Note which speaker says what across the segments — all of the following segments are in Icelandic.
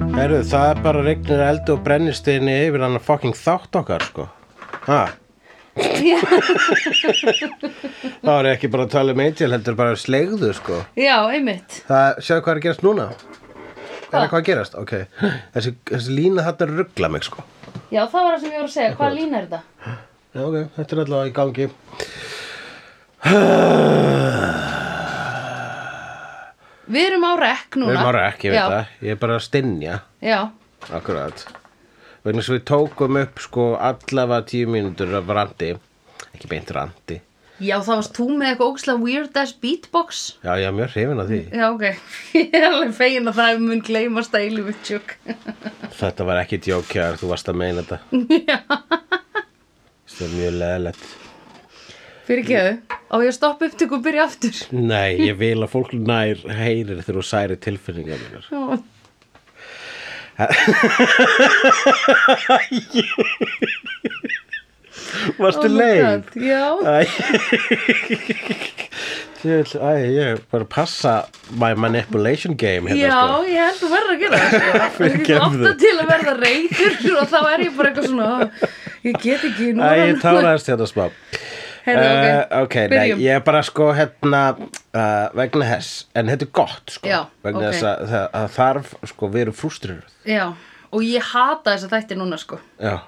Speaker 1: það er bara regnir eldi og brennisteini yfir hann að fucking þátt okkar sko ha,
Speaker 2: Já,
Speaker 1: þá er ég ekki bara að tala um eitil heldur bara slegðu sko
Speaker 2: já, einmitt.
Speaker 1: það, sjáðu hvað er að gerast núna er
Speaker 2: Hvað?
Speaker 1: það hvað að gerast, ok þessi, þessi lína þarna ruggla mig sko
Speaker 2: Já, það var það sem ég voru að segja. Hvaða lína er þetta?
Speaker 1: já ok, þetta er allavega í gangi
Speaker 2: Við erum á rekk núna.
Speaker 1: við erum á rekk, ég veit
Speaker 2: já,
Speaker 1: það ég er bara að stinja,
Speaker 2: Já,
Speaker 1: akkurat vegna sem við tókum upp sko allavega tíu mínútur af randi ekki beint randi
Speaker 2: já, það varst þú með eitthvað ógislega weird ass beatbox.
Speaker 1: já, ég er mjög hrifin af því
Speaker 2: Já, ok. Ég er alveg fegin að það mun gleymast að eilu við tjúk.
Speaker 1: Þetta var ekki djókjar, þú varst að meina þetta. Þetta er mjög leðilegt.
Speaker 2: Fyrir geðu. Á ég að stoppa upptöku og byrja aftur.
Speaker 1: Nei, ég vil að fólk nær heyrir þegar þú særi tilfinningar minnar.
Speaker 2: Já.
Speaker 1: Varstu
Speaker 2: Oh my
Speaker 1: leið?
Speaker 2: God, Já,
Speaker 1: Æ, Ég vil- æ, ég er bara að passa my manipulation game hérna,
Speaker 2: já,
Speaker 1: sko.
Speaker 2: ég held að verða að gera það sko.
Speaker 1: Fyrir
Speaker 2: Ég er svo
Speaker 1: gefðu.
Speaker 2: ofta til að verða reyður og þá er ég bara eitthvað svona Ég get ekki nú
Speaker 1: Æ, ég táraðist hérna smá.
Speaker 2: Heyrðu, ok,
Speaker 1: Eh, ok, nei,
Speaker 2: byrjum.
Speaker 1: ég er bara sko hérna uh, vegna þess, en þetta er gott sko.
Speaker 2: Já,
Speaker 1: vegna
Speaker 2: ok.
Speaker 1: þess að, það- að þarf, sko, við erum frústriður.
Speaker 2: Já, og ég hata þessa þætti núna sko
Speaker 1: Já.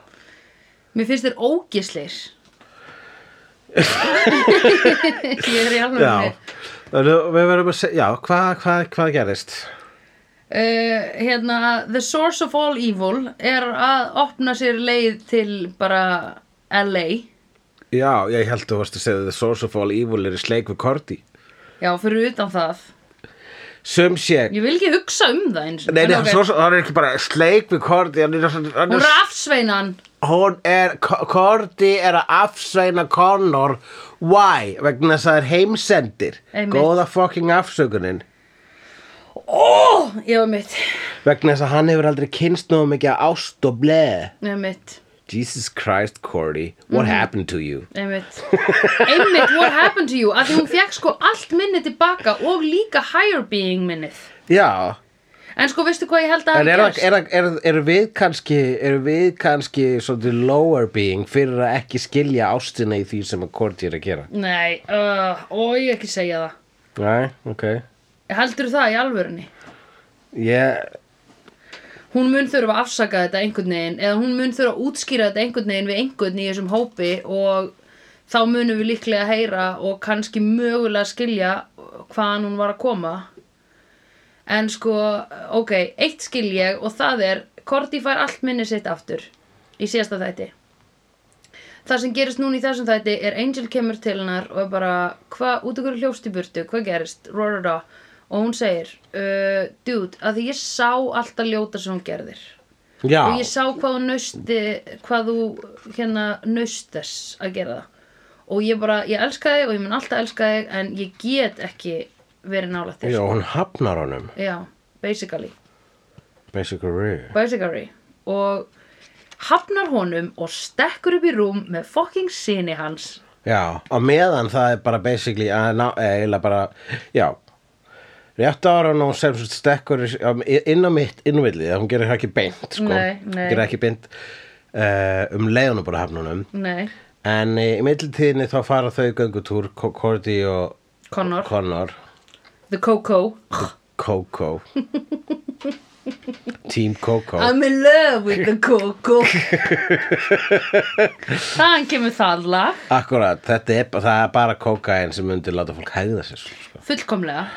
Speaker 2: Mér finnst þér ógisleir Ég er í alveg
Speaker 1: Já, Þannig að við verðum að segja, já, hvað hva, hva gerist?
Speaker 2: uh, hérna, The Source of All Evil er að opna sér leið til bara LA
Speaker 1: Já, ég held að þú varst að segja The Source of All Evil er í sleik við Korti.
Speaker 2: Já, fyrir utan það
Speaker 1: Sum sé,
Speaker 2: Ég vil ekki hugsa um það eins og
Speaker 1: nei, nei,
Speaker 2: En ok.
Speaker 1: okay. hann er ekki bara sleik við Korti, hann er, hann
Speaker 2: Hún
Speaker 1: er,
Speaker 2: rafsveinan
Speaker 1: hún er, Korti er að afsveina Connor, why? Vegna þess að það er heimsendir,
Speaker 2: Einmitt.
Speaker 1: góða fucking afsökunin.
Speaker 2: Ó, ég var mitt
Speaker 1: Vegna þess að hann hefur aldrei kynst nógu mikið af ást og bleð.
Speaker 2: Ég var mitt
Speaker 1: Jesus Christ, Cordy, what happened to you?
Speaker 2: Einmitt. Einmitt, what happened to you? Af því hún fekk sko allt minni tilbaka og líka higher being minnið.
Speaker 1: Já,
Speaker 2: En sko, veistu hvað ég held að
Speaker 1: En er,
Speaker 2: hafi gerst?
Speaker 1: er, er, er við kannski, er við kannski svolítið lower being fyrir að ekki skilja ástina í því sem að Korti er að gera?
Speaker 2: Nei, uh, ó, ég ekki segja það.
Speaker 1: Næ, ok.
Speaker 2: Heldur það í alvörunni?
Speaker 1: Ég,
Speaker 2: Hún mun þurfa að afsaka þetta einhvern veginn eða hún mun þurfa að útskýra þetta einhvern veginn við einhvern í þessum hópi og þá munum við líklega heyra og kannski mögulega skilja hvaðan hún var að koma. En sko, ok, eitt skil ég og það er Korti fær allt minni sitt aftur í síðasta þætti. Það sem gerist núna í þessum þætti er Angel kemur til hennar og er bara hvað, út okkur hljófst í burtu, hvað gerist, rorara og hún segir uh, dude, að því ég sá allt að ljóta sem hún gerðir
Speaker 1: já,
Speaker 2: og ég sá hvað þú nausti hvað þú hérna naust þess að gera það og ég bara, ég elska þig og ég mun alltaf elska þig en ég get ekki verið nála þér
Speaker 1: já, hún hafnar honum,
Speaker 2: Já, basically
Speaker 1: basically.
Speaker 2: basically og hafnar honum og stekkur upp í rúm með fucking sinni hans
Speaker 1: Já, á meðan það er bara basically að ná, eða eiginlega bara, já, rétt ára hún sem sem stekkur í- á- inn á mitt innvillið, hún gerir það ekki beint, sko.
Speaker 2: Nei, nei.
Speaker 1: Gerir ekki beint uh, um leiðunum bara hafnunum.
Speaker 2: nei,
Speaker 1: En eh, í mittiltíðinni þá fara þau göngutúr, Co- Cordy og
Speaker 2: Connor,
Speaker 1: Connor,
Speaker 2: the Coco
Speaker 1: Coco, Team Coco.
Speaker 2: I'm in love with the Coco þaðan kemur það lag
Speaker 1: Akkurat, þetta er, það er bara kokain sem undir láta fólk hægða sér. svona, Sko.
Speaker 2: fullkomlega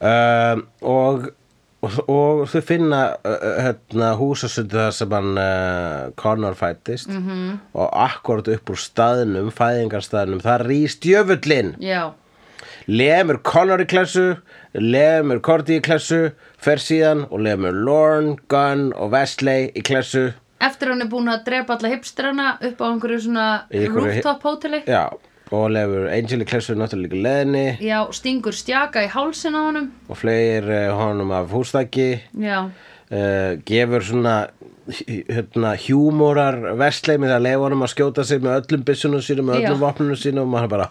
Speaker 1: Um, og, og, og þau finna uh, hérna, húsasundu þar sem hann uh, Connor fættist -hmm. og akkurat upp úr staðnum, fæðingarstaðnum, það rýst jöfullinn.
Speaker 2: já,
Speaker 1: lemur Connor í klessu lemur Cordy í klessu fer síðan og lemur Lorne, Gunn og Wesley í klessu
Speaker 2: eftir hann er búin að drepa alla hipsterana upp á einhverju svona
Speaker 1: Í einhverju hi-
Speaker 2: rooftop hóteli
Speaker 1: já, og lemur Angel í klessu náttúrulega líka í leðinni
Speaker 2: já, stingur stjaka í hálsin á honum
Speaker 1: og flegir uh, honum af húsþæki
Speaker 2: já,
Speaker 1: uh, gefur svona h- hérna, hjúmórar Wesley með að leifa honum að skjóta sig með öllum byssunum sínum, með öllum
Speaker 2: Já.
Speaker 1: vopnunum sínum og maður bara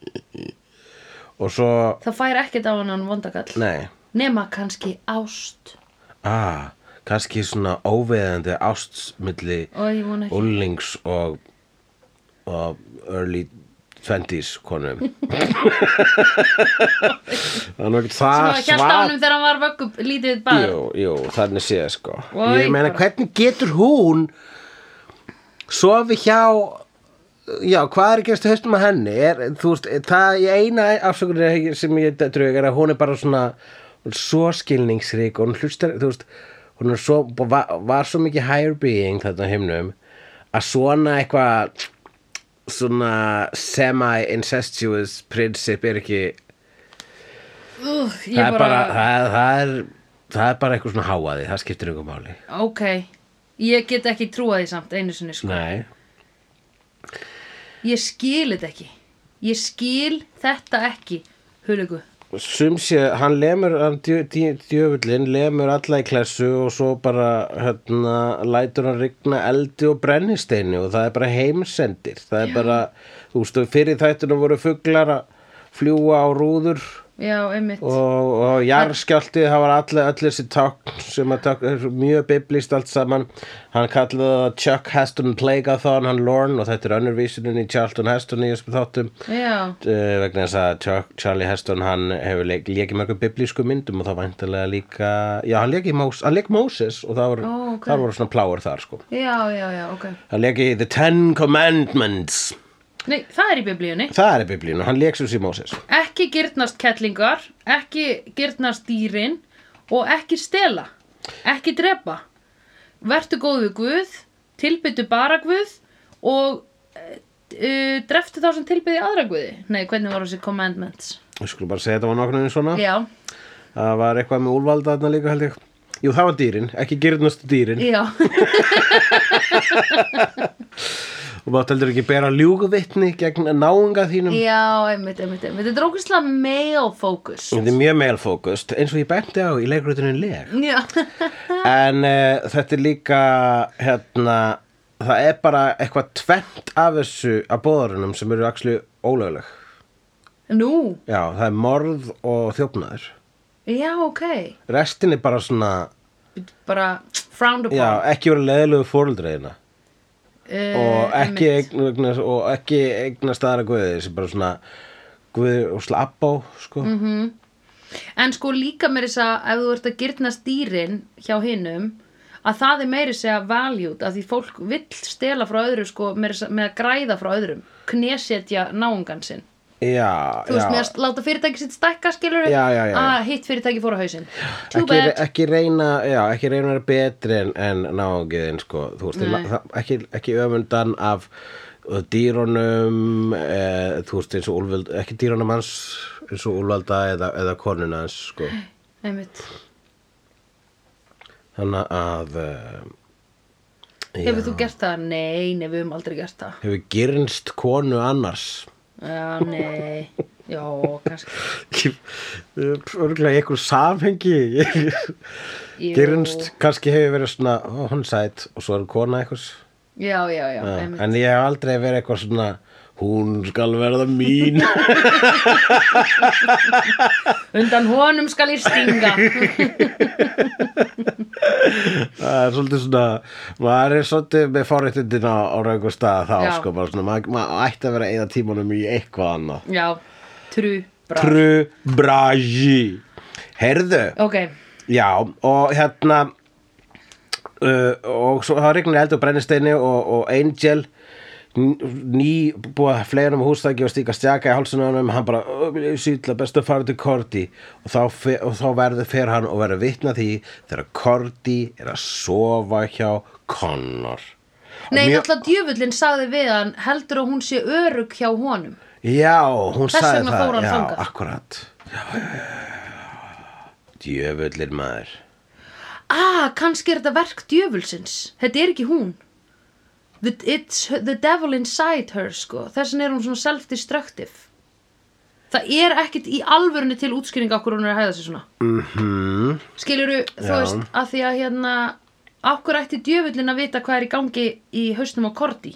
Speaker 1: og svo
Speaker 2: það fær ekkert á hann hann vondagall
Speaker 1: nei,
Speaker 2: nema kannski ást
Speaker 1: ah kannski svona óveðandi ástsmilli
Speaker 2: og ég vona ekki
Speaker 1: Ullings og, og early 20s konum það er nú ekkert
Speaker 2: sem
Speaker 1: það
Speaker 2: að hjælt á honum þegar hann var vöggub lítið barn
Speaker 1: jú, jú, þannig séð sko
Speaker 2: Og
Speaker 1: ég meina
Speaker 2: einhver-
Speaker 1: hvernig getur hún sofi hjá já, hvað er að gerast í haustum að henni er, þú veist, það í eina afsökunin sem ég drög er að hún er bara svona hún er svo skilningsrík og hún hlustar, þú veist hún er svo, var, var svo mikið higher being þetta himnum að svona eitthvað svona semi-incestuous prinsip er ekki
Speaker 2: Úh, ég
Speaker 1: það er
Speaker 2: bara,
Speaker 1: bara, það, það er það er bara eitthvað svona háaði, það skiptir einhver máli
Speaker 2: ok ég get ekki trúað því samt einu sinni sko.
Speaker 1: nei,
Speaker 2: ég skil þetta ekki ég skil þetta ekki hulugu
Speaker 1: sum sé hann lemur, hann djö- djö- djöfullinn lemur alla í klessu og svo bara hérna, lætur hann rigna eldi og brennisteini og það er bara heimsendir það er bara, þú veist, fyrir þættunum voru fuglar að fljúa á rúður
Speaker 2: já, einmitt
Speaker 1: og, og jarðskjálti það var allir all þessi tákn sem að tákn er mjög biblist allt saman hann kallaði það Chuck Heston Plagathon hann Lorne og þetta er önnur vísunin í Charlton Heston í þessum þáttum
Speaker 2: já,
Speaker 1: Eh, vegna þess að Chuck, Charlie Heston hann hefur leik, leikið mörgum biblísku myndum og þá væntalega líka já, hann leikið Moses, hann leik Moses og það voru,
Speaker 2: Ó, ok.
Speaker 1: þar voru svona pláur þar sko
Speaker 2: já, já, já, ok
Speaker 1: hann leikið The Ten Commandments
Speaker 2: nei, það er í biblíunni
Speaker 1: það er biblíun og hann leik sem sé Moses
Speaker 2: ekki gyrnast kettlingar ekki gyrnast dýrin og ekki stela ekki drepa vertu góð við Guð tilbyttu bara Guð og uh, dreftu þá sem tilbyði aðra Guði nei, hvernig voru þessi commandments
Speaker 1: við skulum bara segja þetta var nokkurnu svona
Speaker 2: já,
Speaker 1: það var eitthvað með úlvalda þarna líka held ég jú það var dýrin, ekki gyrnastu dýrin
Speaker 2: já,
Speaker 1: og mátt heldur ekki bera ljúguvitni gegn náunga þínum
Speaker 2: já, einmitt, einmitt, einmitt þetta er ógustlega male focus
Speaker 1: þetta er mjög meilfókust eins og ég bæmti á í leikrutinu leg
Speaker 2: já,
Speaker 1: en uh, þetta er líka hérna, það er bara eitthvað tvent af þessu af bóðarunum sem eru axlu ólögleg
Speaker 2: nú
Speaker 1: já, það er morð og þjófnaður
Speaker 2: já, ok
Speaker 1: restin er bara svona
Speaker 2: bara frowned upon
Speaker 1: já, ekki vera leðilegu fóruldreina
Speaker 2: Eh,
Speaker 1: og ekki,
Speaker 2: einmitt.
Speaker 1: eign- eignast, og ekki eignast aðra guði sem bara svona guði og slappá sko.
Speaker 2: Mhm.
Speaker 1: mm -hmm.
Speaker 2: En sko líka meiri þess að ef þú ert að gyrnast dýrin hjá hinnum að það er meiri segja valjút að því fólk vill stela frá öðru sko meiri segja með að græða frá öðrum knésetja náungan sinn
Speaker 1: já,
Speaker 2: þú veist með
Speaker 1: já.
Speaker 2: að láta fyrirtæki sitt stækka skilur
Speaker 1: Já, já, já, já.
Speaker 2: að hitt fyrirtæki fór á hausinn too
Speaker 1: Ekki,
Speaker 2: bad,
Speaker 1: ekki reyna já, ekki reyna að vera betri en, en náungiðin sko, þú veist, la- það, ekki, ekki öfundan af uh, dýrunum eh, þú veist, eins og úlvöld ekki dýrunum hans, eins og úlvalda eða, eða konuna hans sko.
Speaker 2: einmitt
Speaker 1: þannig að uh,
Speaker 2: hefur þú gert það? Nei, nei, við höfum aldrei gert það
Speaker 1: hefur gyrnst konu annars
Speaker 2: Já, nei, já, kannski
Speaker 1: örgulega í einhver samhengi
Speaker 2: Jú.
Speaker 1: gyrnst, kannski hefur verið svona ó, hún er sæt og svo er kona eitthvað
Speaker 2: Já, já, já,
Speaker 1: Já,
Speaker 2: einmitt
Speaker 1: en ég hef aldrei verið eitthvað svona hún skal verða mín
Speaker 2: Undan honum skal ég stinga
Speaker 1: það er svolítið svona maður er svolítið með forréttindin á, á raungu stað þá
Speaker 2: Já.
Speaker 1: sko, bara svona, maður, maður ætti að vera eða tímanum í eitthvað annað
Speaker 2: Já, trú, bra
Speaker 1: Tru bragi Herðu,
Speaker 2: Ok,
Speaker 1: já og hérna uh, og svo það regnir eld og brennisteini og, og Angel n- ný búið að fleira um hústæki og stíka stjaka í hálsinu á honum hann bara, sýtla best að fara til Korti og þá, fe- og þá verður fer hann og verður vitna því þegar Korti er að sofa hjá Connor
Speaker 2: Nei,
Speaker 1: Mjög-
Speaker 2: náttúrulega djöfullin sagði við hann heldur að hún sé örug hjá honum.
Speaker 1: Já, hún
Speaker 2: Þess
Speaker 1: sagði
Speaker 2: vegna
Speaker 1: það
Speaker 2: fór hann
Speaker 1: Já,
Speaker 2: þangað.
Speaker 1: akkurat já, Djöfullir maður
Speaker 2: Ah, kannski er þetta verk djöfulsins. Þetta er ekki hún. The, it's the devil inside her, sko. Þess vegna er hún svona self-destructive. Það er ekkit í alvörunni til útskýring okkur hún er að hæða sig svona. Mm -hmm. Skilurðu, þú
Speaker 1: Mhm. Já.
Speaker 2: veist, að því að hérna, okkur ætti djöfullin að vita hvað er í gangi í hausnum á Korti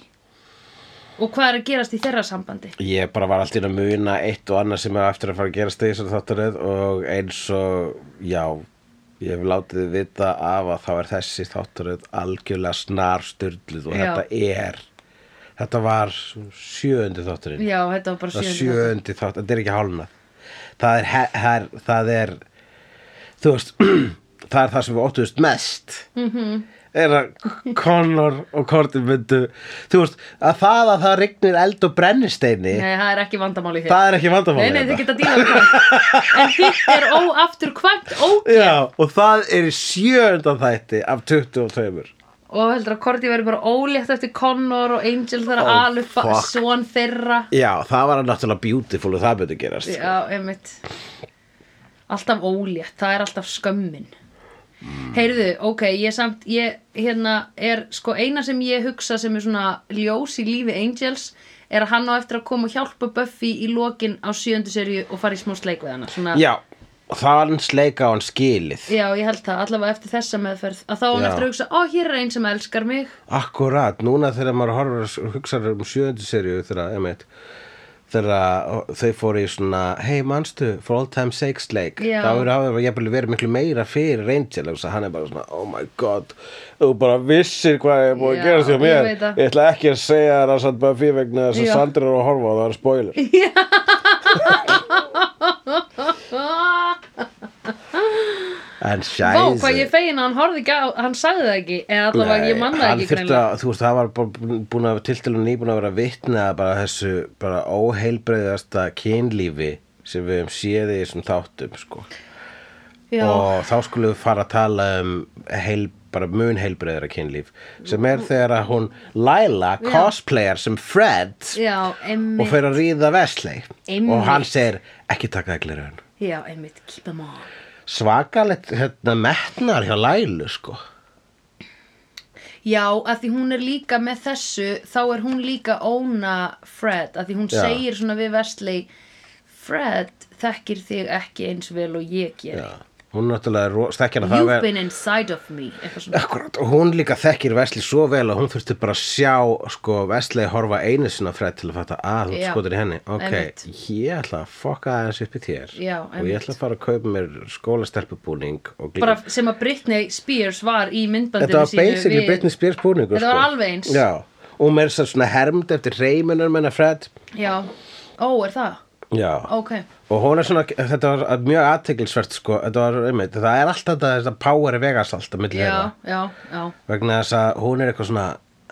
Speaker 2: og hvað er að gerast í þeirra sambandi.
Speaker 1: Ég bara var alltaf að muna eitt og annað sem er eftir að fara að gerast í þessari þáttaröð og eins og, já, Ég hef látið þið vita af að þá er þessi þátturöð algjörlega snarstyrluð og
Speaker 2: Já.
Speaker 1: þetta er þetta var sjöundi þátturinn
Speaker 2: Já, þetta var bara
Speaker 1: það er
Speaker 2: sjöndi þáttur.
Speaker 1: sjöundi þátturinn, þetta er ekki hálna það er, he- það er, það er þú veist það er það sem við óttuðust mest -hmm. er að Connor og Korti myndu þú veist, að það að það rignir eld og brennisteini
Speaker 2: Nei, það er ekki vandamáli hér
Speaker 1: það er ekki vandamál
Speaker 2: Nei, nei, þið geta dílað við það En hitt er óaftur kvæmt ó
Speaker 1: Já, og það er í sjöundan þætti af 22
Speaker 2: Og heldur að Korti verður bara ólétt eftir Connor og Angel þegar
Speaker 1: Oh,
Speaker 2: oh, Alufa,
Speaker 1: fuck.
Speaker 2: son þeirra
Speaker 1: Já, það var náttúrulega beautiful og það betur gerast
Speaker 2: Já, einmitt Alltaf ólétt, það er alltaf skömmin
Speaker 1: Mm.
Speaker 2: Heyrðu, ok, ég samt ég, hérna, er sko eina sem ég hugsa sem er svona ljós í lífi Angels er að hann á eftir að koma og hjálpa Buffy í lokin á sjöndu serju og fara í smá sleik við hana svona,
Speaker 1: Já, þann sleika á hann skilið
Speaker 2: Já, ég held það, allavega eftir þessa meðferð að þá á
Speaker 1: Já.
Speaker 2: hann eftir að hugsa, ó, hér er einn sem elskar mig
Speaker 1: Akkurat, núna þegar maður horfir hugsaður um sjöundu serju þegar, emeit þegar þau fóru í svona hey manstu, for all time sake sleik
Speaker 2: Já.
Speaker 1: þá eru hafði jafnvel verið miklu meira fyrir Angel, þess að hann er bara svona oh my god, þú bara vissir hvað er búið
Speaker 2: Já,
Speaker 1: að gera sér
Speaker 2: ég
Speaker 1: mér
Speaker 2: veit það.
Speaker 1: ég ætla ekki að segja þér að satt bara fyrir vegna þess
Speaker 2: Já.
Speaker 1: að Sandra er að horfa og það er spoiler
Speaker 2: ah,
Speaker 1: en
Speaker 2: Vá,
Speaker 1: sjæði
Speaker 2: hvað ég fegin að hann horfði ekki á, hann sagði það ekki eða allavega ég manna
Speaker 1: hann
Speaker 2: ekki
Speaker 1: þurfti að, þú veist, það var bara búin að tiltelun nýbúin að vera vitna bara þessu bara óheilbreyðasta kynlífi sem við hefum séð í þessum þáttum sko.
Speaker 2: Já.
Speaker 1: og þá skulum við fara að tala um heil, bara mun heilbreyðara kynlíf sem er þegar að hún Laila,
Speaker 2: Já.
Speaker 1: cosplayer sem Fred
Speaker 2: Já, einmitt
Speaker 1: og fer að ríða Vesley
Speaker 2: Einmitt.
Speaker 1: og hann segir ekki taka það glera hann
Speaker 2: Já, einmitt, keep them on
Speaker 1: svakalegt hérna metnar hjá Lailu sko
Speaker 2: Já, að því hún er líka með þessu þá er hún líka óna Fred að því hún
Speaker 1: Já.
Speaker 2: segir svona við Vestley Fred þekkir þig ekki eins vel og ég ger
Speaker 1: Já. hún náttúrulega er ro- þekkir að það
Speaker 2: You've
Speaker 1: ver-
Speaker 2: been inside of me eitthvað svona
Speaker 1: Akkurat, og hún líka þekkir Vesli svo vel að hún þurfti bara að sjá sko, Vesli horfa einu sinna fræð til að fatta að þú
Speaker 2: Já,
Speaker 1: skotir í henni ok,
Speaker 2: einmitt.
Speaker 1: ég ætla að fokka aðeins upp í þér
Speaker 2: Já,
Speaker 1: og ég ætla
Speaker 2: einmitt.
Speaker 1: að fara að kaupa mér skólastelpubúning og glík
Speaker 2: Bara sem að Britney Spears var í myndbandinu
Speaker 1: þetta var basically Britney Spears búningur
Speaker 2: Þetta var
Speaker 1: sko.
Speaker 2: alveg eins.
Speaker 1: Já, og mér er svona hermd eftir reyminar menna Fred
Speaker 2: Já, ó, er það?
Speaker 1: Já.
Speaker 2: Ok,
Speaker 1: og hún er svona, þetta var mjög aðteglisvert sko, þetta var einmitt, það er alltaf þetta, þetta power vegasalt að milli þeirra
Speaker 2: já, já, já
Speaker 1: vegna þess að hún er eitthvað svona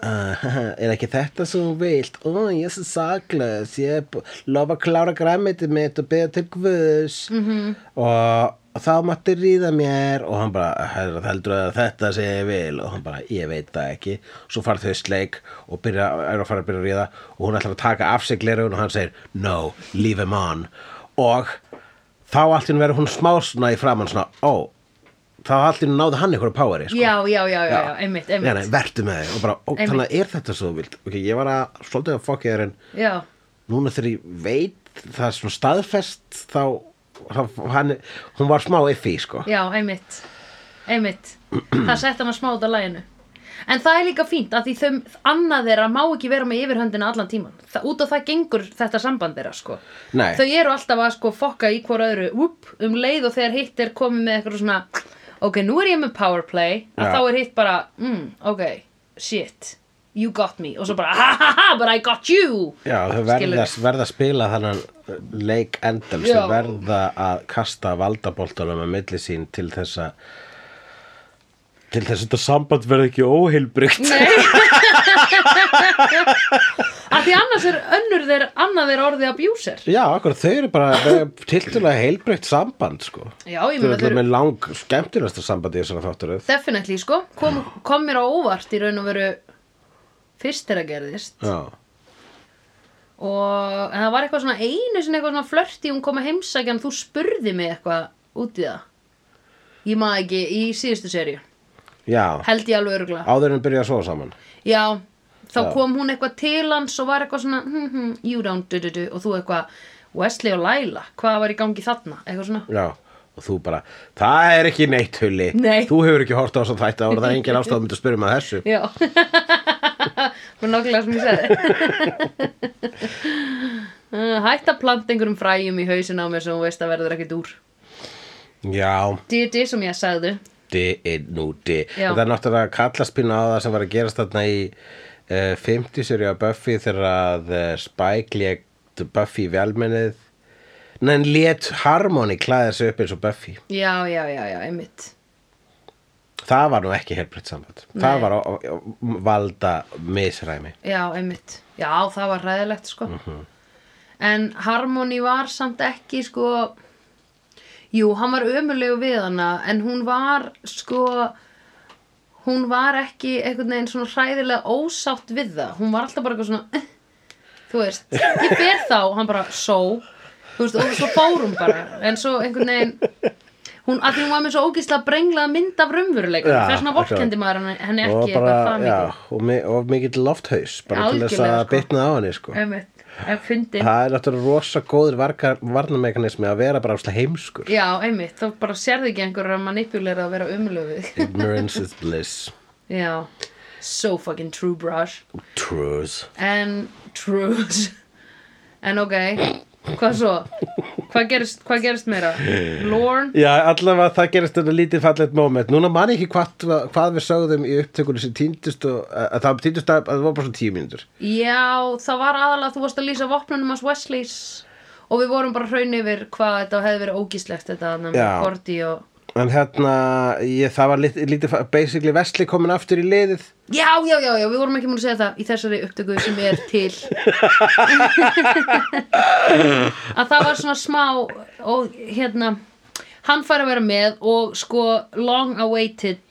Speaker 1: uh, er ekki þetta sem hún vilt ó, ég er svo saklaus ég er bú- lofa að klára græmitið mitt og beða til guðs -hmm. og, og þá mátti ríða mér og hann bara, "Herra, heldur að þetta sem ég vil og hann bara, ég veit það ekki svo fara þau í sleik og byrja, er að fara að byrja að ríða og hún ætlar að taka af sig gleraugun og hann segir, no, leave him on og þá allt í hún verður hún smá svona í framann svona, ó þá allt í hún náði hann einhverju poweri sko.
Speaker 2: Já, já, já, já, já, einmitt,
Speaker 1: Nei,
Speaker 2: einmitt
Speaker 1: nei, vertu með þig og bara, ó,
Speaker 2: Einmitt.
Speaker 1: þannig að er þetta svo þú vilt ok, ég var að, svolítið að fokki þér en
Speaker 2: Já,
Speaker 1: núna þegar ég veit það er svona staðfest þá, þá hann, hún var smá effi, sko
Speaker 2: Já, einmitt, einmitt. það sett hann að smá út af læginu. En það er líka fínt að því þau, annað þeirra má ekki vera með yfirhöndina allan tíman. Þa, út á það gengur þetta samband þeirra, sko.
Speaker 1: Nei.
Speaker 2: Þau eru alltaf að sko fokka í hvora öðru, upp, um leið og þegar hitt er komið með eitthvað svona, ok, nú er ég með powerplay, að
Speaker 1: Já.
Speaker 2: þá er hitt bara, mm, ok, shit, you got me, og svo bara, ha ha ha, but I got you.
Speaker 1: já, þau verða, verða að spila þannan leik endal
Speaker 2: Já.
Speaker 1: þau verða að kasta valdaboltanum að milli sín til þess að til þess að þetta samband verði ekki óheilbrygt
Speaker 2: Nei Að því annars er önnur þeir annað þeir orðið abuser
Speaker 1: já, akkur, þau eru bara tiltulega heilbrygt samband, sko
Speaker 2: Já, ég
Speaker 1: Þau eru
Speaker 2: meina þeir
Speaker 1: alltaf
Speaker 2: eru
Speaker 1: með lang skemmtilegasta sambandi í þessara þátturöð
Speaker 2: definitely sko kom, kom mér á óvart í raun og veru fyrst þeirra gerðist
Speaker 1: Já,
Speaker 2: og en það var eitthvað svona einu sinni eitthvað svona flörti hún kom að heimsækja en þú spurði mig eitthvað út í það ég maður ekki í síðustu serju
Speaker 1: já
Speaker 2: held ég alveg örugla
Speaker 1: áður en byrja að sofa saman
Speaker 2: Já, þá
Speaker 1: Já.
Speaker 2: kom hún eitthvað til hans og var eitthvað svona hm, hm, You don't do do do Og þú eitthvað Wesley og Laila, hvað var í gangi þarna? Eitthvað svona
Speaker 1: Já, og þú bara, það er ekki neitt hulli
Speaker 2: Nei.
Speaker 1: Þú hefur ekki hort á þess að þætti ára, það er engin ástæða að mynda að spyrja með þessu
Speaker 2: Já Mér nákvæmlega sem ég segi Uh, Hætt að planta einhverjum fræjum í hausinn á mér sem hún veist að verður ekkert úr
Speaker 1: já,
Speaker 2: D.D. sem ég sagði
Speaker 1: D, inn, nú, D
Speaker 2: Já.
Speaker 1: það er náttúrulega kallast pínu á það sem var að gerast þarna í uh, 50 serið af Buffy þegar að uh, Spike létt Buffy í velmennið en hann létt Harmony klæða sig upp eins og Buffy
Speaker 2: Já, já, já, já, einmitt
Speaker 1: það var nú ekki helbritt samband
Speaker 2: Nei.
Speaker 1: það var á- á- valda misræmi
Speaker 2: Já, einmitt. Já, það var ræðilegt, sko.
Speaker 1: Mhm.
Speaker 2: En Harmony var samt ekki, sko... Jú, hann var ömulegu við hana, en hún var, sko... Hún var ekki einhvern veginn svona hræðilega ósátt við það. Hún var alltaf bara eitthvað svona... "Eh", Þú veist, ég ber þá, hann bara, só. Þú veist, og svo fór hún bara. En svo einhvern veginn... Hún, að því hún var með svo ógíslega brenglaða mynd af raunveruleikum.
Speaker 1: Já,
Speaker 2: Það er svona
Speaker 1: akkurat.
Speaker 2: vorkendi maður henni- henni
Speaker 1: og
Speaker 2: ekki eitthvað það
Speaker 1: bara,
Speaker 2: mikið.
Speaker 1: já, og, mi og mikill lofthaus bara til þess
Speaker 2: Algjörlega,
Speaker 1: að
Speaker 2: sko.
Speaker 1: bitna á henni sko.
Speaker 2: Einmitt, en fyndin.
Speaker 1: það er náttúrulega rosa góður varga- varnarmekanismi að vera bara áslega heimskur
Speaker 2: Já, einmitt, þá bara sérðu ekki einhverja manipulera að vera umlöfið.
Speaker 1: ignorance is bliss
Speaker 2: Já, so fucking true brush.
Speaker 1: truth
Speaker 2: En trues. En ok, hvað svo? Hvað gerist, hvað gerist meira? Lorne?
Speaker 1: Já, allavega það gerist þetta lítið fallegt moment. Núna man ég ekki hvað, hvað við sögðum í upptökunni sem týndist og að, að það týndist að, að það var bara svona tíu mínútur.
Speaker 2: Já, það var aðalega þú varst að lýsa vopnunum hans Wesleys og við vorum bara hraun yfir hvað þetta hefði verið ógíslegt þetta þarna með
Speaker 1: Já.
Speaker 2: Gordy og...
Speaker 1: En hérna, ég, það var lítið, lítið fa- basically Vesli komin aftur í liðið.
Speaker 2: Já, já, já, já, við vorum ekki múin að segja það í þessari upptöku sem er til að það var svona smá og hérna hann fær að vera með og sko long awaited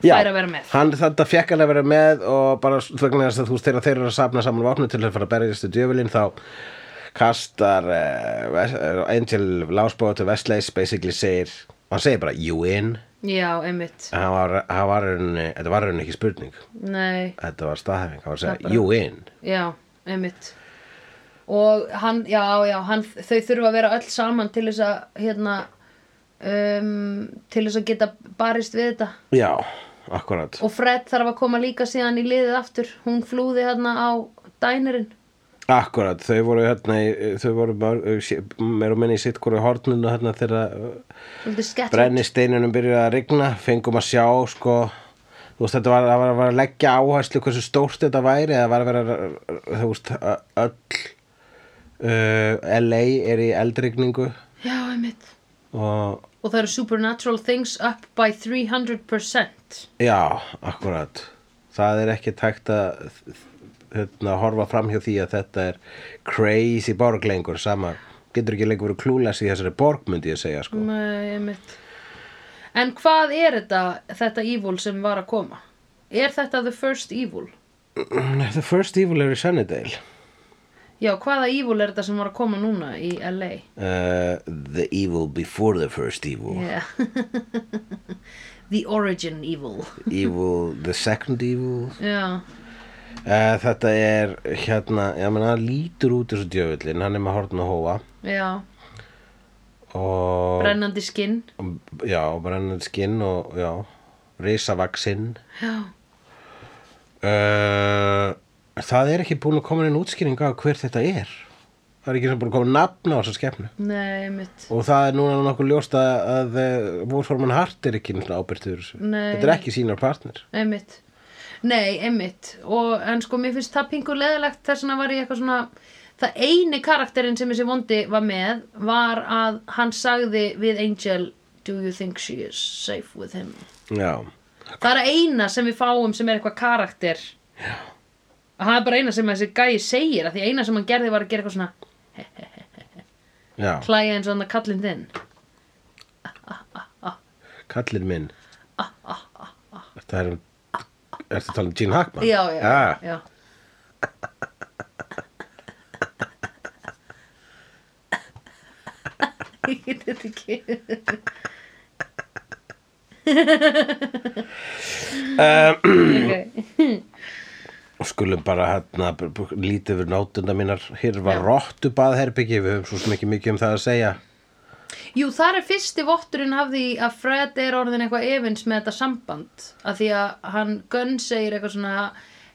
Speaker 2: fær að vera með
Speaker 1: Hann þetta fekk alveg að vera með og bara s- vegna þess að þú veist þegar þeir eru að safna saman vopnum til að fara að berjast í djöfulinn þá kastar uh, Angel Lásbóð til Vesleis basically segir, hann segir bara you in.
Speaker 2: Já, einmitt,
Speaker 1: Hann var, hann var raunni, þetta var raunni ekki spurning.
Speaker 2: nei,
Speaker 1: Þetta var staðhæfing, hann var að
Speaker 2: Það bara-
Speaker 1: segja you in.
Speaker 2: já, einmitt og hann, já, já hann, þau þurfa að vera öll saman til þess að hérna um, til þess að geta barist við þetta
Speaker 1: Já, akkurat
Speaker 2: Og Fred þarf að koma líka síðan í liðið aftur. Hún flúði hérna á dænerinn.
Speaker 1: Akkurat, þau voru hérna í- þau voru mörg- meir og minni í sitt hvoru horninu hérna þegar
Speaker 2: Svolítið sketch.
Speaker 1: brennisteinunum byrjuði að rigna fengum að sjá sko þú veist þetta var, það var, var að leggja áhæslu hversu stórt þetta væri eða var að vera þú veist ö- öll uh, LA er í eldrigningu
Speaker 2: Já, einmitt.
Speaker 1: og
Speaker 2: Og það eru supernatural things up by 300%.
Speaker 1: já, akkurat það er ekki tækt að hérna, horfa fram hjá því að þetta er crazy borg lengur sama, getur ekki lengur verið klúles í þessari borg myndi ég segja sko
Speaker 2: Nei, Um, eh, einmitt. En hvað er þetta, þetta evil sem var að koma? Er þetta the first evil?
Speaker 1: Mm, The first evil er í Sunnydale
Speaker 2: Já, hvaða evil er þetta sem var að koma núna í LA?
Speaker 1: uh, The evil before the first evil
Speaker 2: Yeah. the origin evil.
Speaker 1: Evil, the second evil
Speaker 2: Já,
Speaker 1: uh, Þetta er hérna, ég meina hann lítur út þessu djöfullin, hann er með horn og hóa
Speaker 2: já.
Speaker 1: og
Speaker 2: Brennandi skinn.
Speaker 1: já, brennandi skinn og já, risavaksinn
Speaker 2: Já.
Speaker 1: uh, Það er ekki búin að koma inn útskýring á hver þetta er Það er ekki sem búin að koma nafn á þessa skefnu
Speaker 2: Nei, einmitt.
Speaker 1: Og það er núna nokkuð ljóst að, að eh, Wolfram Hart er ekki ábyrgtur þessu.
Speaker 2: Nei.
Speaker 1: Þetta er ekki sínar partner.
Speaker 2: einmitt nei, einmitt og, en sko mér finnst það pingu leðilegt þess vegna var ég eitthvað svona það eini karakterinn sem þessi vondi var með var að hann sagði við Angel do you think she is safe with him
Speaker 1: Já.
Speaker 2: það er að eina sem við fáum sem er eitthvað karakter já það er bara eina sem þessi gæi segir að því eina sem hann gerði var að gera eitthvað svona
Speaker 1: Já,
Speaker 2: hlæja eins og hann að kallin þinn
Speaker 1: kallinn minn.
Speaker 2: Ah,
Speaker 1: Þetta er um... Ertu að tala um Gene Hackman?
Speaker 2: já, já,
Speaker 1: Ah,
Speaker 2: já. ég get þetta ekki um,
Speaker 1: Og skulum bara hérna b- b- lítið við nótuna mínar. Hér var rottu baðherbyggi, við höfum svo sem ekki mikið um það að segja.
Speaker 2: Jú, þar er fyrsti votturinn af því að Fred er orðin eitthvað efins með þetta samband af því að hann Gunn segir eitthvað svona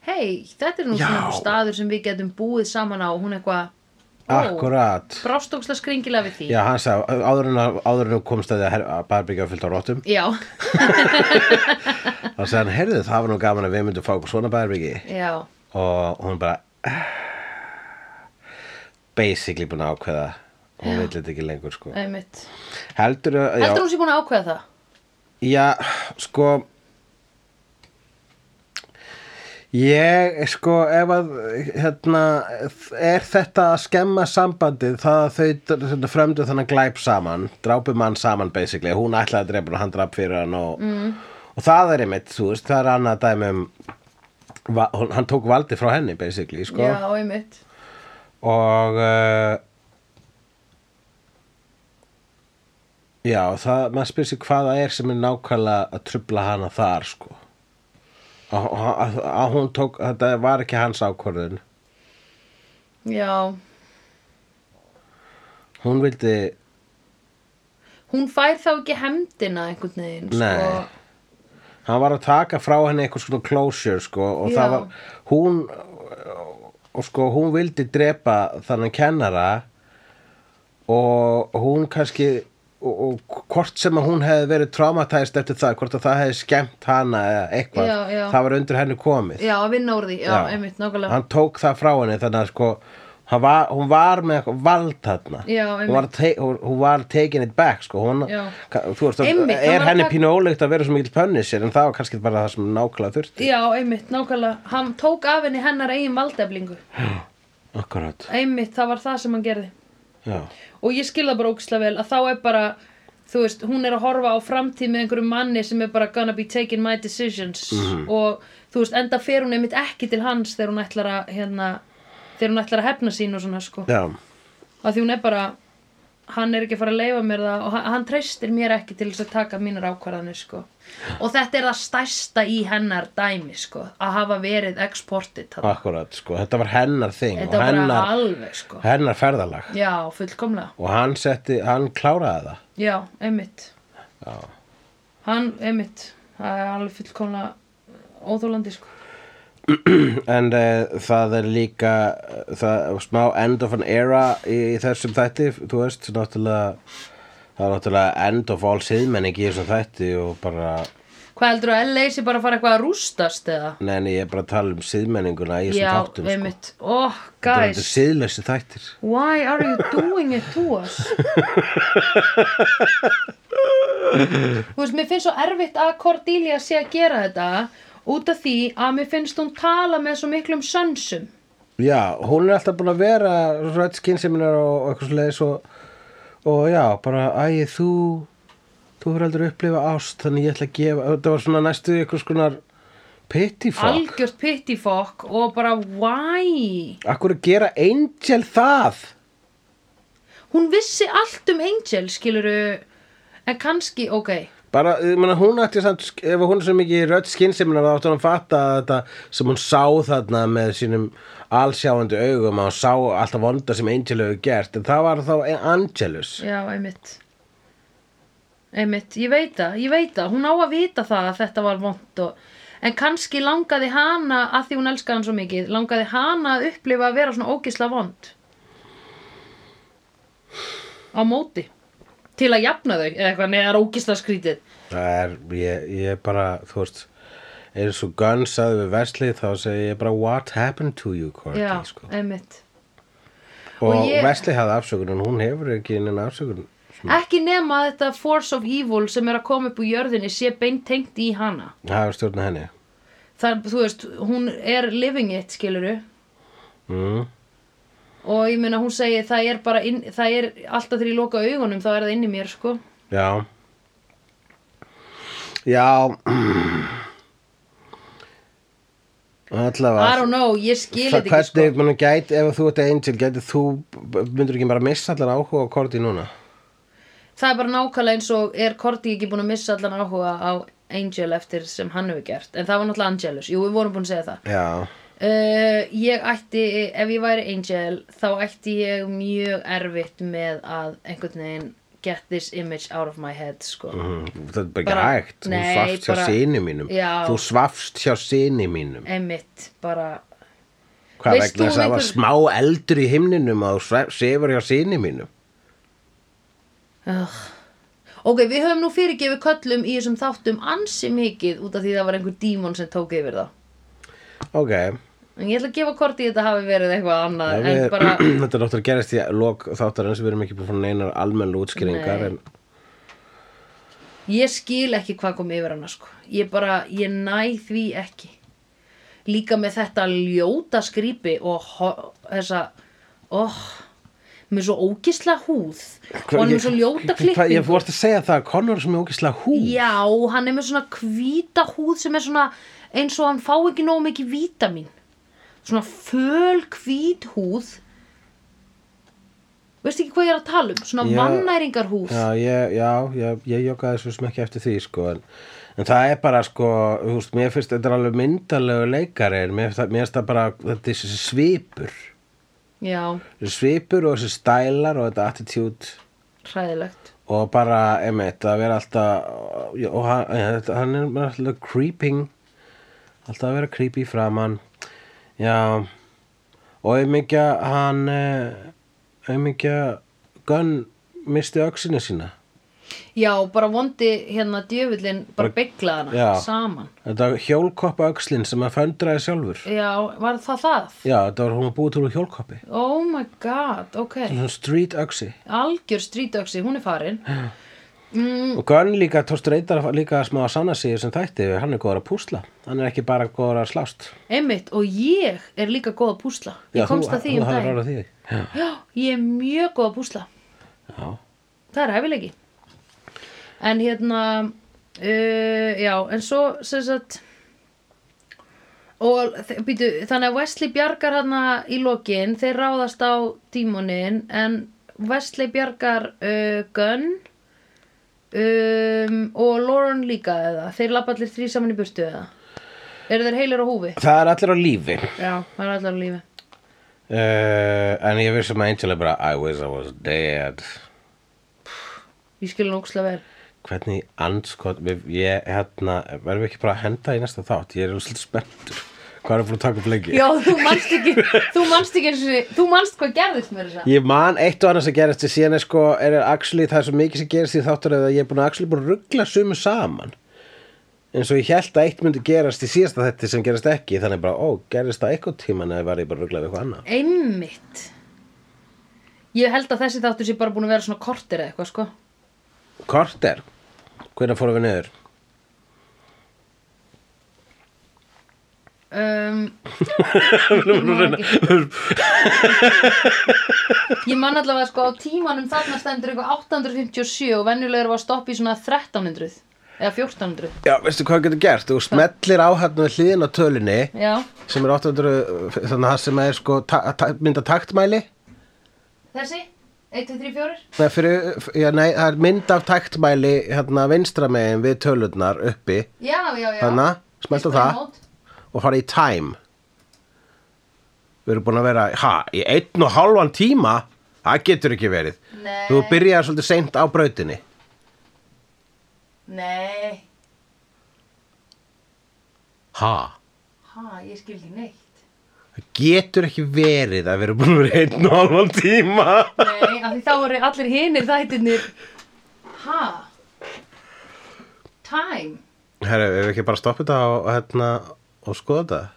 Speaker 2: hei, þetta er nú
Speaker 1: Já.
Speaker 2: svona einhver staður sem við getum búið saman á og hún eitthvað
Speaker 1: akkurat
Speaker 2: brást ókslega skringilega við því
Speaker 1: Já, hann sagði, áður en, áður en hún komst að því að her- að barbyggja fyllt á róttum
Speaker 2: já,
Speaker 1: þá sagði hann, heyrðu, það var nú gaman að við myndum fá okkur svona barbyggi
Speaker 2: já,
Speaker 1: og hún bara "Ah." basically búin að ákveða hún veit þetta ekki lengur sko
Speaker 2: einmitt
Speaker 1: heldur, já,
Speaker 2: heldur hún sé búin að ákveða það?
Speaker 1: já, sko ég sko ef að hérna, er þetta að skemma sambandið það að þau hérna, fremdu þannig glæp saman drápu mann saman basically hún ætlaði að drepa hann, hann drap fyrir hann og, mm. og það er einmitt, þú veist, það er annað dæmi um va- hún- hann tók valdi frá henni basically sko
Speaker 2: já, einmitt
Speaker 1: og uh, já, það, maður spyrir sig hvað það er sem er nákvæmlega að trubla hana þar sko að, að, að hún tók, þetta var ekki hans ákvörðun
Speaker 2: já,
Speaker 1: hún vildi
Speaker 2: hún fær þá ekki hemdina einhvern veginn
Speaker 1: Nei.
Speaker 2: sko.
Speaker 1: hann var að taka frá henni eitthvað svona closure sko og
Speaker 2: Já.
Speaker 1: það var, hún og sko hún vildi drepa þannig kennara og hún kannski og, og hvort sem að hún hefði verið traumatæst eftir það, hvort að það hefði skemmt hana eða eitthvað,
Speaker 2: Já, já.
Speaker 1: það var undir henni komið
Speaker 2: já, að vinna úr því, já,
Speaker 1: Já.
Speaker 2: einmitt, nákvæmlega
Speaker 1: hann tók það frá henni þannig að sko hann var, hún var með eitthvað vald þarna
Speaker 2: Já,
Speaker 1: hún, var te, hún hún var taking it back sko. hún,
Speaker 2: Já.
Speaker 1: ka, þú veist,
Speaker 2: Einmitt, hann
Speaker 1: er
Speaker 2: var að
Speaker 1: henni
Speaker 2: taka-
Speaker 1: pínu ólíkt að vera svo mikill pönnisir en það var kannski bara það sem nákvæmlega þurfti
Speaker 2: já, einmitt, nákvæmlega, hann tók af henni hennar eigin valdeflingu
Speaker 1: akkurat
Speaker 2: einmitt, það var það sem hann gerði
Speaker 1: já.
Speaker 2: og ég skil það bara ógislega vel að þá er bara þú veist, hún er að horfa á framtíð með einhverjum manni sem er bara gonna be taking my decisions
Speaker 1: Mhm.
Speaker 2: og þú veist, enda fer hún einmitt ekki til hans þegar hún ætlar að hérna, þegar hún ætlar að hefna sín og svona sko,
Speaker 1: Já.
Speaker 2: að því hún er bara hann er ekki að fara að leifa mér það og hann, hann treystir mér ekki til þess að taka mínar ákvarðanir sko, og þetta er það stærsta í hennar dæmi sko að hafa verið exportið þarna.
Speaker 1: akkurat sko. þetta var hennar þing
Speaker 2: þetta
Speaker 1: og
Speaker 2: var bara
Speaker 1: hennar,
Speaker 2: alveg sko
Speaker 1: hennar ferðalag
Speaker 2: já, fullkomlega
Speaker 1: og hann setti, hann kláraði það
Speaker 2: Já, einmitt
Speaker 1: Já.
Speaker 2: Hann, einmitt Það er alveg fullkomlega óþólandi sko.
Speaker 1: en uh, það er líka eh, það, smá end of an era í, í þessum þætti, þú veist náttúrulega, það er náttúrulega end of all siðmenning í þessum þætti og bara,
Speaker 2: Hvað heldur að LA sé bara að fara eitthvað að rústast eða?
Speaker 1: neini, ég er bara að tala um siðmenninguna í
Speaker 2: Já,
Speaker 1: þessum þáttum sko.
Speaker 2: einmitt Oh,
Speaker 1: þetta er þetta
Speaker 2: guys
Speaker 1: siðlösi þættir
Speaker 2: Why are you doing it to us? Þú veist, mér finnst svo erfitt að Cordelia sé að gera þetta út af því að mér finnst hún tala með svo miklum sönsum
Speaker 1: já, hún er alltaf búin að vera rödd skynseminar og, og eitthvað svoleiðis og, og já, bara, æ, þú þú hefur aldrei upplifa ást þannig ég ætla að gefa, þetta var svona næstu eitthvað skonar pity fuck
Speaker 2: Algjört pittifokk og bara why?
Speaker 1: Akkur að gera Angel það?
Speaker 2: hún vissi allt um Angel skiluru en kannski, ok
Speaker 1: Bara, ég meina, hún ætti samt, ef hún er svo mikið rödd skynseminar þá átti hún að fatta að þetta sem hún sá þarna með sínum allsjáandi augum að hún sá alltaf vonda sem Angel hefur gert en það var þá Angelus
Speaker 2: já, einmitt einmitt, ég veit það, ég veit það hún á að vita það að þetta var vond og en kannski langaði hana að því hún elskaði hann svo mikið, langaði hana að upplifa að vera svona ógisla vond á móti til að jafna þau eða eitthvað, neða ógisla skrítið
Speaker 1: Það er, ég, ég bara, þú veist eins og Gunn sagði við Wesley þá segi ég bara what happened to you Cordy,
Speaker 2: já,
Speaker 1: sko.
Speaker 2: einmitt
Speaker 1: og,
Speaker 2: og ég-
Speaker 1: Wesley hafði afsökun en hún hefur ekki innan afsökun
Speaker 2: ekki nema að þetta force of evil sem er að koma upp úr jörðinni sé beintengt í hana
Speaker 1: það er stjórna henni
Speaker 2: þar, þú veist, hún er living it, skiluru
Speaker 1: mm.
Speaker 2: og ég meina hún segi það er bara inn, það er alltaf þegar ég loka augunum þá er það inn í mér, sko
Speaker 1: Já Já
Speaker 2: I
Speaker 1: Allavega
Speaker 2: don't know, ég skil
Speaker 1: Það
Speaker 2: þetta ekki, sko
Speaker 1: hvernig mann gæti, ef þú ert Angel, gæti þú, myndur ekki bara missa allan áhuga á Korti núna?
Speaker 2: það er bara nákvæmlega eins og er Korti ekki búin að missa allan áhuga á Angel eftir sem hann hefur gert en það var náttúrulega Angelus, jú, við vorum búin að segja það
Speaker 1: Já,
Speaker 2: Uh, ég ætti, ef ég væri Angel þá ætti ég mjög erfitt með að einhvern veginn get this image out of my head sko.
Speaker 1: mm, það er bara ekki
Speaker 2: Bara-
Speaker 1: hægt, þú
Speaker 2: nei,
Speaker 1: svafst hjá
Speaker 2: bara-
Speaker 1: sinni mínum
Speaker 2: Já.
Speaker 1: Þú svafst hjá sinni mínum
Speaker 2: einmitt, bara
Speaker 1: Hvað
Speaker 2: Veist
Speaker 1: vegna
Speaker 2: þú
Speaker 1: þess að það
Speaker 2: um
Speaker 1: var smá eldur í himninum að þú svef- sefur hjá síni mínum?
Speaker 2: Ugh. Ok, við höfum nú fyrirgefið köllum í þessum þáttum ansi mikið út af því það var einhver dímon sem tók yfir það.
Speaker 1: Ok,
Speaker 2: En ég ætla að gefa korti í þetta hafi verið eitthvað annað,
Speaker 1: ja,
Speaker 2: en
Speaker 1: við,
Speaker 2: bara,
Speaker 1: þetta er náttúrulega gerist í lok þáttarins, við erum ekki búin að fá neinar almenn útskýringar
Speaker 2: Nei.
Speaker 1: en
Speaker 2: ég skil ekki hvað kom yfir hana, sko. Ég bara, ég næ því ekki. Líka með þetta ljóta skrýpi og ho- þessa, oh, með svo ógisla húð og hann
Speaker 1: ég-
Speaker 2: með svo ljóta
Speaker 1: Hvað- Ég
Speaker 2: klippingu.
Speaker 1: vorst að segja það að Connor sem er ógislega hú
Speaker 2: Já, hann er með svona hvíta húð sem er svona eins og hann fá ekki nógu mikið vítamin. Svona föl hvít húð. Veist ekki hvað ég er að tala um? Svona
Speaker 1: Já.
Speaker 2: vannæringar húð.
Speaker 1: Já, ég, já, ég, ég joggaði svo sem ekki eftir því, sko, en, en það er bara, sko, þú veist, mér finnst þetta er alveg myndalegu leikari, en mér, finnst það- mér finnst það bara, þetta er þessi svipur,
Speaker 2: Já,
Speaker 1: þessi svipur og þessi stælar og þetta attitude
Speaker 2: hræðilegt.
Speaker 1: og bara, emitt, að vera alltaf, já, og hann, ja, þetta- hann er bara alltaf creeping, alltaf að vera creepy framan, já, og auðmyggja, hann, auðmyggja, Gunn misti öxina sína.
Speaker 2: Já, bara vondi hérna djöfullin
Speaker 1: Bara-
Speaker 2: bara byggla hana
Speaker 1: Já.
Speaker 2: saman.
Speaker 1: Þetta hjólkoppa öxlin sem að föndraði sjálfur.
Speaker 2: Já, var það það?
Speaker 1: Já, þetta var hún að búa til úr hjólkoppi.
Speaker 2: Oh my god, ok.
Speaker 1: Svona street öxi.
Speaker 2: Algjör strítöksi, hún er farin. Mm,
Speaker 1: Og Gunn líka tóst reyndar líka smá að sanna sig í þessum þætti. Hann er góður að púsla. Hann er ekki bara góður að slást.
Speaker 2: Einmitt, og ég er líka góð að púsla. Ég
Speaker 1: Já,
Speaker 2: komst
Speaker 1: þú-
Speaker 2: að því
Speaker 1: þú
Speaker 2: um
Speaker 1: hafðir
Speaker 2: daginn.
Speaker 1: ráð á því. Já.
Speaker 2: Já, ég er mjög góð að púsla.
Speaker 1: Já.
Speaker 2: Það er hæfileiki. En hérna, uh, já, en svo, sem sagt, og þe- býtu, þannig að Wesley bjargar hana í lokin, þeir ráðast á dímonin, en Wesley bjargar uh, Gunn um, og Lauren líka eða, þeir lappa allir þrý saman í burtu eða. Eru þeir heilir á húfi?
Speaker 1: Það er allir á lífi.
Speaker 2: Já, það er allar á lífi.
Speaker 1: Uh, en ég vissi maður Angel er bara I wish I was dead.
Speaker 2: Ég skilur nógslega vel.
Speaker 1: Hvernig í andskot, við- ég, hérna, verðum við ekki bara að henda í næsta þátt? Ég er alveg svolítið spenntur. Hvað er búin að taka upp lengi?
Speaker 2: Já, þú manst ekki, þú manst ekki eins og þú manst hvað gerðist mér þess að.
Speaker 1: Ég man eitt og annars að gerast því síðan er sko, er er actually, það er svo mikið sem gerist í þáttur að ég er búin að actually búin að ruggla sumu saman eins og ég held að eitt myndi gerast í síðasta þetta sem gerast ekki, þannig bara, ó, gerist það eitthvað tíman eða var ég bara að ruggla við eitthvað annað
Speaker 2: Einmitt. Ég held að þessi þáttur sé bara búin að vera svona kortir eða eitthvað, sko.
Speaker 1: Korter, hvernig fórum við niður?
Speaker 2: Um, ég man ekki. ég man allavega sko á tímanum þarna stendur eitthvað 857 og venjulega erum við að stoppa í svona 1300 eða 1400.
Speaker 1: Já, veistu hvað getur gert? Þú smellir á hérna við hliðin á tölunni
Speaker 2: Já,
Speaker 1: sem er 800, þannig að það sem er sko ta ta mynda taktmæli
Speaker 2: þessi? 1, 2, 3, 4?
Speaker 1: Nei, fyrir, já, nei, það er mynd af taktmæli hérna vinstra megin við tölurnar uppi
Speaker 2: Já, já, já.
Speaker 1: Þannig að smelta
Speaker 2: Display
Speaker 1: það
Speaker 2: mode.
Speaker 1: og fara í time Við erum búin að vera ha, í einn og hálfan tíma það getur ekki verið
Speaker 2: Nei.
Speaker 1: Þú byrjar svolítið seint á brautinni
Speaker 2: Nei,
Speaker 1: Ha,
Speaker 2: ha, ég skil ekki neitt.
Speaker 1: það getur ekki verið að við erum búin að vera í einn og hálfan tíma
Speaker 2: Nei, af því þá eru allir hinir þættirnir Ha? Time?
Speaker 1: Herru, ef við ekki bara stoppa þetta og, hérna, og skoða þetta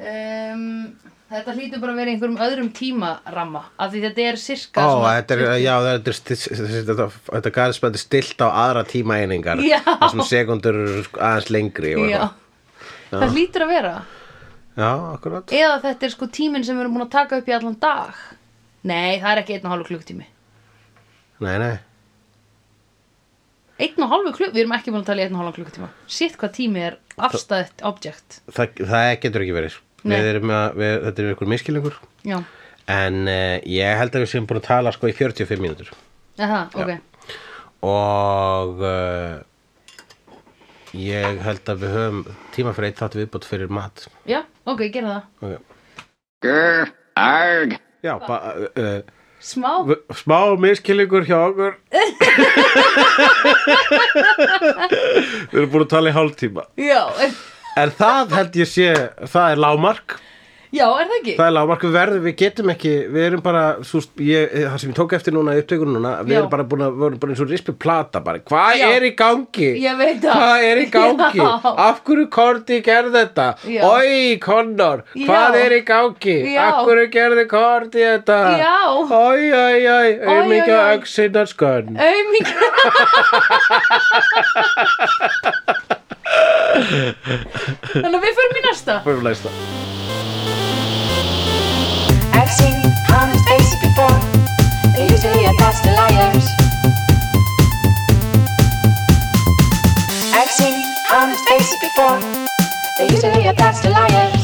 Speaker 2: Um, þetta hlýtur bara að vera í einhverjum öðrum tímaramma af því þetta er sirka
Speaker 1: Ó, þetta er, já, þetta er sti- þetta- þetta þetta garðspændi stilt á aðra tímaeiningar
Speaker 2: Já.
Speaker 1: þar sem sekundur sko, aðeins lengri og
Speaker 2: já.
Speaker 1: eitthvað.
Speaker 2: Það hlýtur að vera
Speaker 1: Já, akkurat
Speaker 2: Eða þetta er sko tíminn sem við erum búin að taka upp í allan dag Nei, það er ekki einn og hálfu klukktími
Speaker 1: Nei, nei
Speaker 2: Einn og hálfu klukk, við erum ekki búin að tala í einn og hálfu klukktíma Sitt hvað tími er afstæðt objekt
Speaker 1: Þa, það getur ekki verið
Speaker 2: Nei.
Speaker 1: við erum að, við, þetta er ykkur miskilingur
Speaker 2: Já,
Speaker 1: en uh, ég held að við séum búin að tala sko í 45 mínútur
Speaker 2: eða það, ok
Speaker 1: og uh, ég held að við höfum tíma fyrir eitt þátt viðbót fyrir mat
Speaker 2: Já, ok, gera það
Speaker 1: okay.
Speaker 3: Grr, arg.
Speaker 1: já, ba, uh,
Speaker 2: Smá
Speaker 1: uh, smá miskilingur hjá okkur við erum búin að tala í hálftíma
Speaker 2: Já, en-
Speaker 1: en það held ég sé það er lágmark
Speaker 2: Já, er það ekki?
Speaker 1: það er lágmark, við verðum, við getum ekki við erum bara, svo, ég, eh, það sem ég tók eftir núna í upptökunum núna, við
Speaker 2: Já.
Speaker 1: erum bara búin að við erum bara eins og rispi plata bara, hvað
Speaker 2: Já.
Speaker 1: er í gangi?
Speaker 2: Ég veit það.
Speaker 1: Hvað er í gangi?
Speaker 2: Já.
Speaker 1: Af hverju Korti gerði þetta?
Speaker 2: Já.
Speaker 1: Oi, Connor, hvað
Speaker 2: Já.
Speaker 1: er í gangi?
Speaker 2: Já.
Speaker 1: Af hverju gerði Korti þetta?
Speaker 2: Já.
Speaker 1: Oi, oi, oi,
Speaker 2: Oj,
Speaker 1: um ekki
Speaker 2: oj,
Speaker 1: á
Speaker 2: oj.
Speaker 1: öxinnar skönn
Speaker 2: Auming Þannig að við förum í næsta
Speaker 1: Fyrir læsta
Speaker 4: I've seen honest faces before. They're usually a past the liars. I've seen honest faces before. They're usually a past the liars.